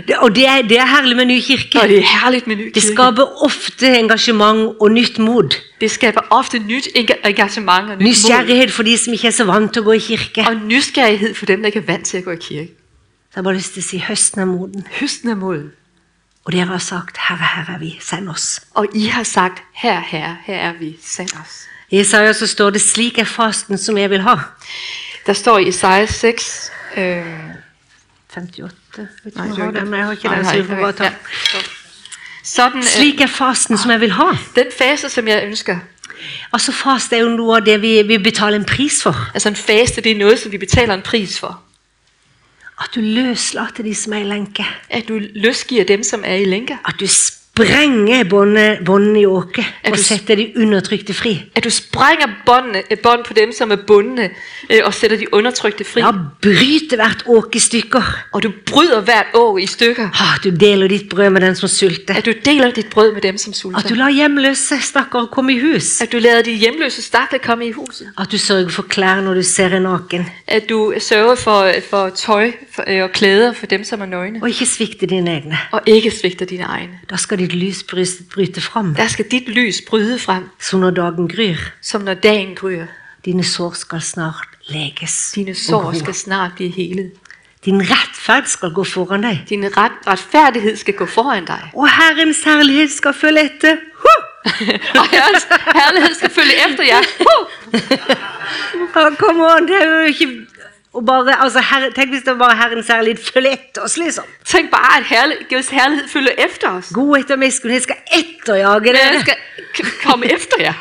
Speaker 1: Det, og det er, det er herlig med ny
Speaker 2: og
Speaker 1: kirke.
Speaker 2: det er herligt med en ny
Speaker 1: Det
Speaker 2: kirke.
Speaker 1: skaper ofte engasjement og nytt mod.
Speaker 2: Det skaber ofte nyt enga- engagement og nyt mod,
Speaker 1: Nysgjerrighet for de som ikke er så vant til å gå i kirke.
Speaker 2: og nysgerrighed for dem, der ikke er vant til at gå i kirke.
Speaker 1: Så jeg har bare lyst til å si høsten er moden.
Speaker 2: Høsten er moden,
Speaker 1: Og dere har sagt 'Herre, her er vi, send oss'.
Speaker 2: og I har sagt, her, herre, her er vi, send os.
Speaker 1: I Isaiah så står det 'Slik er fasten som jeg vil ha'.
Speaker 2: Der står i Isaiah 6, øh, nej,
Speaker 1: 58 Vet ikke om
Speaker 2: det
Speaker 1: jeg har
Speaker 2: er jo ikke
Speaker 1: den,
Speaker 2: den.
Speaker 1: men jeg har ikke
Speaker 2: Nej,
Speaker 1: den,
Speaker 2: nej,
Speaker 1: så vi får bare ta
Speaker 2: ja. Sådan, øh,
Speaker 1: Slik er fasten som jeg vil ha.
Speaker 2: den fase, som jeg ønsker,
Speaker 1: Altså Faste er jo noe av det vi, vi betaler en pris for.
Speaker 2: altså en faste, det er noget, som vi betaler en pris for.
Speaker 1: At du løslater de som er i lenke.
Speaker 2: At du løsgiver dem, som er i lænker.
Speaker 1: At du sprenger båndene båndene i åket
Speaker 2: Er
Speaker 1: og
Speaker 2: du s-
Speaker 1: setter de undertrykte fri.
Speaker 2: At du sprænger båndene, øh, bånd på dem, som er bundne, øh, og sætter de undertrykte fri.
Speaker 1: Ja, bryter hvert åke i stykker.
Speaker 2: Og du bryder hvert år i stykker.
Speaker 1: Ah, At du deler ditt brød med den som sulter.
Speaker 2: At du deler dit brød med dem, som
Speaker 1: At du
Speaker 2: sulter.
Speaker 1: lar hjemløse stakkar komme i hus.
Speaker 2: At du lader de hjemløse stakler komme i huset.
Speaker 1: At du sørger for klær når du ser en naken.
Speaker 2: At du sørger for, for tøj for, øh, og klæder for dem, som er nøgne.
Speaker 1: Og ikke svikte dine egne.
Speaker 2: Og ikke svigter dine egne.
Speaker 1: Da skal ditt lys bryst- bryte fram,
Speaker 2: Der skal dit lys bryde frem,
Speaker 1: så når dagen gryr.
Speaker 2: som når dagen gryer.
Speaker 1: Dine sår skal snart leges.
Speaker 2: Dine
Speaker 1: og
Speaker 2: sår
Speaker 1: gro.
Speaker 2: skal snart blive helet.
Speaker 1: Din rettferd skal gå foran deg.
Speaker 2: Din ret, retfærdighed skal gå foran dig.
Speaker 1: Og Herrens herlighet skal følge etter.
Speaker 2: [LAUGHS]
Speaker 1: Huh!
Speaker 2: og Herrens herlighed skal følge efter jer. Uh!
Speaker 1: Oh, come on, det er jo ikke og bare, altså, herre, Tenk hvis det var Herrens herlighet følger etter oss, liksom.
Speaker 2: Tænk bare, at herlighed, Guds herlighed følger efter os.
Speaker 1: God etter miskunnhet skal etterjage
Speaker 2: Men jeg
Speaker 1: dere.
Speaker 2: skal k- komme efter jer.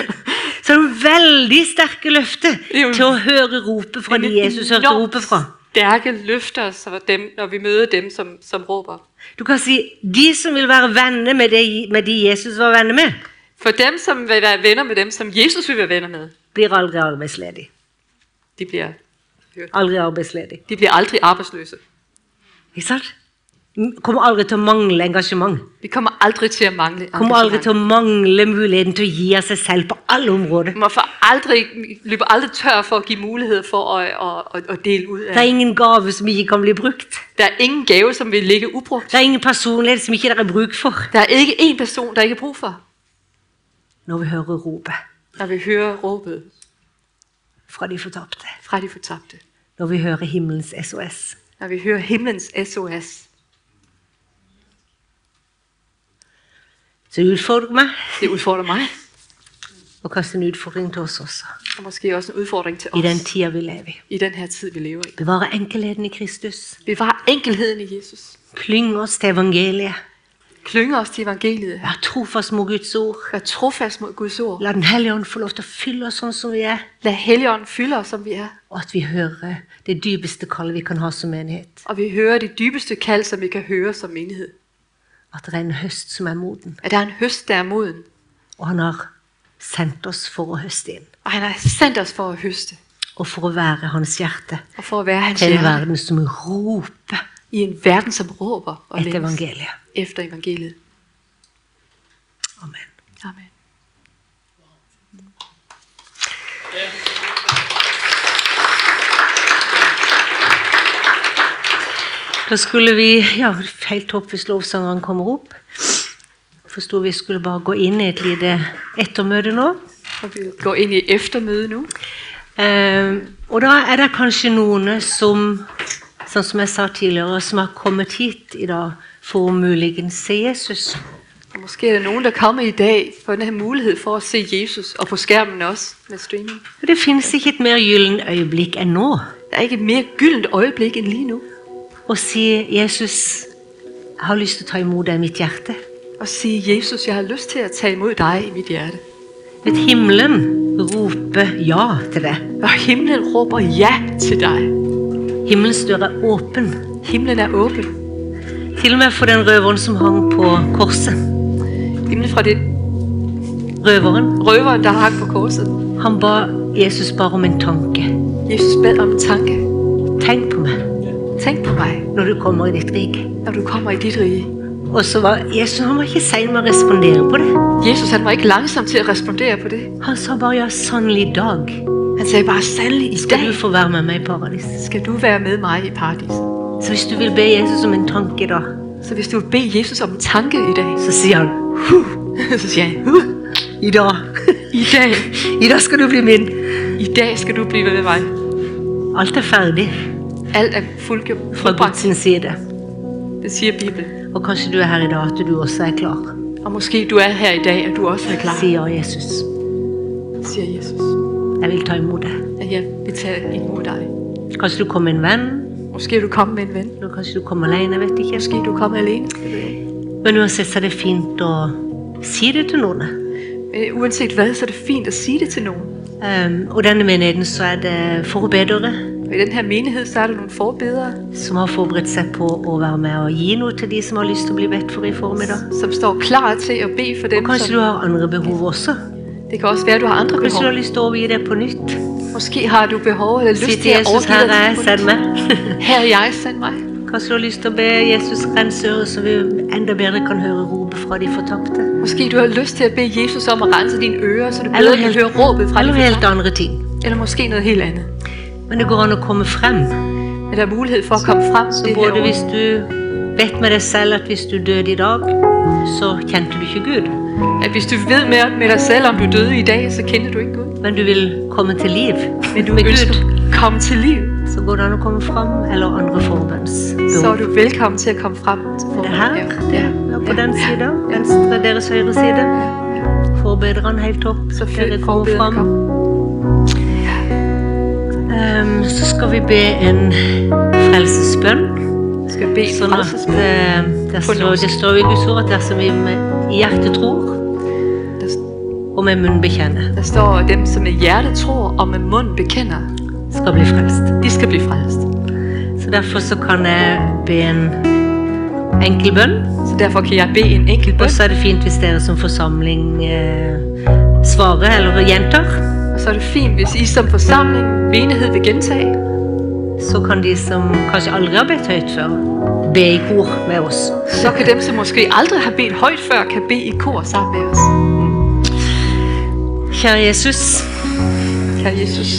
Speaker 1: [LAUGHS] Så det er veldig sterke løfter
Speaker 2: er jo-
Speaker 1: til å høre ropet fra de Jesus hørte
Speaker 2: Enormt
Speaker 1: ropet fra.
Speaker 2: Stærke løfter, så dem, når vi møder dem, som, som råber.
Speaker 1: Du kan si de som vil være venner med de, med de Jesus var venner med,
Speaker 2: For dem, som vil være venner med dem, som Jesus vil være venner med,
Speaker 1: blir aldri arbeidsledig.
Speaker 2: de bliver,
Speaker 1: Aldri arbeidsledig.
Speaker 2: de bliver aldrig arbejdsløse.
Speaker 1: Ikke sant? M- Kommer aldri til å mangle engasjement.
Speaker 2: Vi kommer aldrig til at mangle
Speaker 1: Kommer aldri til
Speaker 2: engagement.
Speaker 1: å mangle muligheten til å gi av seg selv på alle områder.
Speaker 2: Vi må for aldrig, vi løber aldrig tør for at give mulighed for at, at, at, at dele ud
Speaker 1: Det er
Speaker 2: af.
Speaker 1: ingen gave som ikke kan bli brukt.
Speaker 2: Der er ingen gave, som vil ligge ubrugt.
Speaker 1: Det er ingen personlighet som ikke det er bruk for.
Speaker 2: Der er ikke en person, der ikke er brug for.
Speaker 1: når vi hører ropet
Speaker 2: når vi hører råbet
Speaker 1: fra de fortapte.
Speaker 2: fra de fortabte.
Speaker 1: Når vi hører himmelens SOS.
Speaker 2: Når vi hører himmelens SOS.
Speaker 1: Så utfordrer meg
Speaker 2: Det utfordrer meg,
Speaker 1: og kaster en utfordring til oss også.
Speaker 2: og måske også en udfordring til
Speaker 1: I den
Speaker 2: os
Speaker 1: tida vi lever i.
Speaker 2: i den her tid, vi lever i.
Speaker 1: Bevare enkelheten i Kristus.
Speaker 2: Bevar enkelheden i Jesus.
Speaker 1: Klyng oss til evangeliet.
Speaker 2: Klynge os til evangeliet her.
Speaker 1: Vær trofast mot Guds ord.
Speaker 2: Vær trofast mod Guds ord.
Speaker 1: La Den hellige ånd få lov til å fylle oss sånn som vi er,
Speaker 2: Lad Helligånden fylde os, som vi er.
Speaker 1: og at vi hører det dypeste kallet vi kan ha som menighet.
Speaker 2: Og vi hører det dybeste kald, som vi kan høre som menighed.
Speaker 1: At det er en høst som er moden,
Speaker 2: At der er en høst, der er moden.
Speaker 1: og han har sendt oss for å høste inn.
Speaker 2: Og han har sendt os for at høste.
Speaker 1: Og for å være hans hjerte
Speaker 2: Og for at være hans
Speaker 1: til en
Speaker 2: hjerte
Speaker 1: verden som roper
Speaker 2: i en verden, som råber og
Speaker 1: etter
Speaker 2: længes
Speaker 1: evangeliet.
Speaker 2: efter evangeliet.
Speaker 1: Amen.
Speaker 2: Amen.
Speaker 1: Da skulle vi ja, helt opp hvis lovsangeren kommer opp. Forsto vi skulle bare gå inn i et lite ettermøte nå.
Speaker 2: Og vi går ind i eftermøde nu.
Speaker 1: Eh, og da er det kanskje noen som, sånn som jeg sa tidligere, som har kommet hit i dag for å muligens se Jesus.
Speaker 2: Og måske er der nogen, der kommer i dag for den her mulighed for at se Jesus, og på skærmen også med streaming.
Speaker 1: For det finnes ikke et mer gyllent øyeblikk enn nå
Speaker 2: Der er ikke et mere gyldent øjeblik end lige nu.
Speaker 1: å si Jesus, jeg har lyst til å ta imot deg i mitt hjerte.
Speaker 2: Og sige, Jesus, jeg har lyst til at tage imod dig i mit hjerte.
Speaker 1: Vet himmelen roper ja til det.
Speaker 2: Og himlen råber ja til dig.
Speaker 1: Himmelens dør er åpen.
Speaker 2: Himlen er åben.
Speaker 1: Til og med for den røveren som hang på korset.
Speaker 2: Himlen fra det
Speaker 1: Røveren,
Speaker 2: røver, der hang på korset.
Speaker 1: han ba Jesus bare om en tanke.
Speaker 2: Jesus bad om en tanke.
Speaker 1: Tenk på meg
Speaker 2: Tænk på mig,
Speaker 1: når du kommer i ditt rike.
Speaker 2: når du kommer i dit rige.
Speaker 1: Og så var Jesus han var ikke sein med å respondere på det.
Speaker 2: Jesus han var ikke langsom til at respondere på det.
Speaker 1: Han sa bare ja, sannelig i dag
Speaker 2: Han sagde bare, sandelig i
Speaker 1: skal
Speaker 2: dag
Speaker 1: du få være med meg i paradis.
Speaker 2: skal du være med mig i paradis.
Speaker 1: Så hvis du vil be Jesus om en tanke da,
Speaker 2: Så hvis du vil bede Jesus om en tanke i dag, [LAUGHS]
Speaker 1: så sier han
Speaker 2: så siger han, "Huh,
Speaker 1: i dag. [LAUGHS]
Speaker 2: i dag,
Speaker 1: I dag skal du bli min.
Speaker 2: i dag skal du blive med mig.
Speaker 1: Alt er ferdig
Speaker 2: Alt er fuldgjort.
Speaker 1: fra Guds
Speaker 2: fuldbragt,
Speaker 1: sin side.
Speaker 2: det siger Bibelen.
Speaker 1: Og kanskje du er her i dag at du også er klar.
Speaker 2: Og måske du er her i dag, at du også er klar,
Speaker 1: Si ja, Jesus.
Speaker 2: siger Jesus.
Speaker 1: Jeg vil ta imot deg.
Speaker 2: At jeg vil tage imod dig.
Speaker 1: Kanskje du kommer med en venn,
Speaker 2: Måske er du kommet med en ven.
Speaker 1: eller kanskje du kommer alene, jeg vet ikke.
Speaker 2: Måske er du kommet alene.
Speaker 1: Men uansett så er det fint å si det til noen.
Speaker 2: Men Øh, uanset hvad, så er det fint at sige det til nogen.
Speaker 1: Ehm, og denne menigheten så er det forbedere
Speaker 2: Og i den her menighed, så er der nogle forbedere,
Speaker 1: som har forberedt seg på å være med og gi noe til de som har lyst til å bli bedt for i formiddag.
Speaker 2: som står klar til at bede for
Speaker 1: Og
Speaker 2: dem.
Speaker 1: kanskje
Speaker 2: Som,
Speaker 1: du har andre behov også.
Speaker 2: det kan også være, at du har andre
Speaker 1: Kanskje du
Speaker 2: behov.
Speaker 1: har lyst til å overgi det på nytt.
Speaker 2: Måske har du behov eller
Speaker 1: Si
Speaker 2: lyst til
Speaker 1: til
Speaker 2: at
Speaker 1: Jesus,
Speaker 2: overgive
Speaker 1: her
Speaker 2: dig
Speaker 1: er jeg,
Speaker 2: på
Speaker 1: send
Speaker 2: dit.
Speaker 1: meg. [LAUGHS]
Speaker 2: Her er jeg, send mig.
Speaker 1: Kanskje du har lyst til å be Jesus rense øret, så vi enda bedre kan høre ropet fra de fortapte.
Speaker 2: Måske du har lyst til at bede Jesus om at rense dine ører, så du
Speaker 1: Eller
Speaker 2: bedre kan
Speaker 1: helt-
Speaker 2: høre råbet fra
Speaker 1: Eller
Speaker 2: din
Speaker 1: helt andre ting.
Speaker 2: Eller måske noget helt andet.
Speaker 1: Men det går an å komme frem.
Speaker 2: Men der er mulighed for at komme frem til det her
Speaker 1: Både
Speaker 2: ord.
Speaker 1: hvis du vet med deg selv at hvis du døde i dag, så kjente du ikke Gud.
Speaker 2: At hvis du ved med, med dig selv, om du døde i dag, så kender du ikke Gud.
Speaker 1: Men du vil komme til liv
Speaker 2: Men du
Speaker 1: med
Speaker 2: ønsker
Speaker 1: Gud.
Speaker 2: at komme til liv,
Speaker 1: så går det an å komme fram, eller andre
Speaker 2: så er
Speaker 1: forbønnsbehov.
Speaker 2: du velkommen til at komme frem til
Speaker 1: Det er her,
Speaker 2: forbøn.
Speaker 1: det
Speaker 2: Ja.
Speaker 1: er på den sida, venstre, deres høyre side. Forbedrerne helt opp,
Speaker 2: Så
Speaker 1: dere
Speaker 2: fyld
Speaker 1: kommer fram.
Speaker 2: forbederen kom.
Speaker 1: Ehm, så skal vi be en frelsesbønn.
Speaker 2: Skal bede
Speaker 1: Sånn
Speaker 2: frem.
Speaker 1: at eh, der står, det står i Guds ord at dersom vi med øh, i hjertet tror, og med munn bekjenner,
Speaker 2: Der står, at dem, som med hjertet tror og med mund bekender,
Speaker 1: skal bli frelst.
Speaker 2: de skal blive frelst.
Speaker 1: Så derfor så kan jeg be en enkel bønn.
Speaker 2: Så derfor kan jeg bede en enkelt
Speaker 1: Og
Speaker 2: bøn,
Speaker 1: så er det fint hvis dere som forsamling eh, svarer eller gjentar.
Speaker 2: og så er det fint, hvis I som forsamling, menighed vil gentage,
Speaker 1: Så kan de som kanskje aldri har bedt høyt før, be i kor med oss.
Speaker 2: så kan dem, som måske aldrig har bedt højt før, kan bede i kor sammen med os.
Speaker 1: Kjære Jesus,
Speaker 2: Kære Jesus,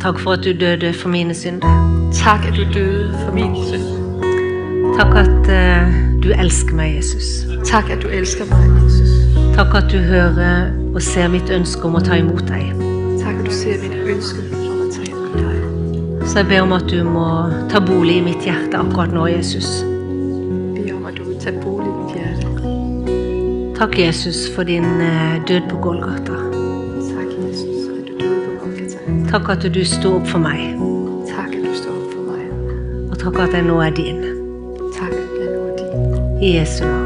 Speaker 1: takk for at du døde for mine synder.
Speaker 2: tak, at du døde for min synd.
Speaker 1: Takk at eh, du elsker meg, Jesus.
Speaker 2: Tak, at du elsker mig, Jesus.
Speaker 1: Takk at du hører og ser mitt ønske om å ta imot deg.
Speaker 2: Tak, at du ser mit ønske om at tage imod dig.
Speaker 1: Så jeg ber om at du må ta bolig i mitt hjerte akkurat nå, Jesus.
Speaker 2: Jeg beder om, at du vil tage bolig i mit hjerte.
Speaker 1: Takk, Jesus, for din eh, død på Golgata.
Speaker 2: Tak, Jesus, at du døde på Golgata.
Speaker 1: Takk at du sto opp for meg,
Speaker 2: Tak, at du står op for mig.
Speaker 1: og takk at jeg nå er din.
Speaker 2: Tak, at jeg nu er din.
Speaker 1: I Jesu navn.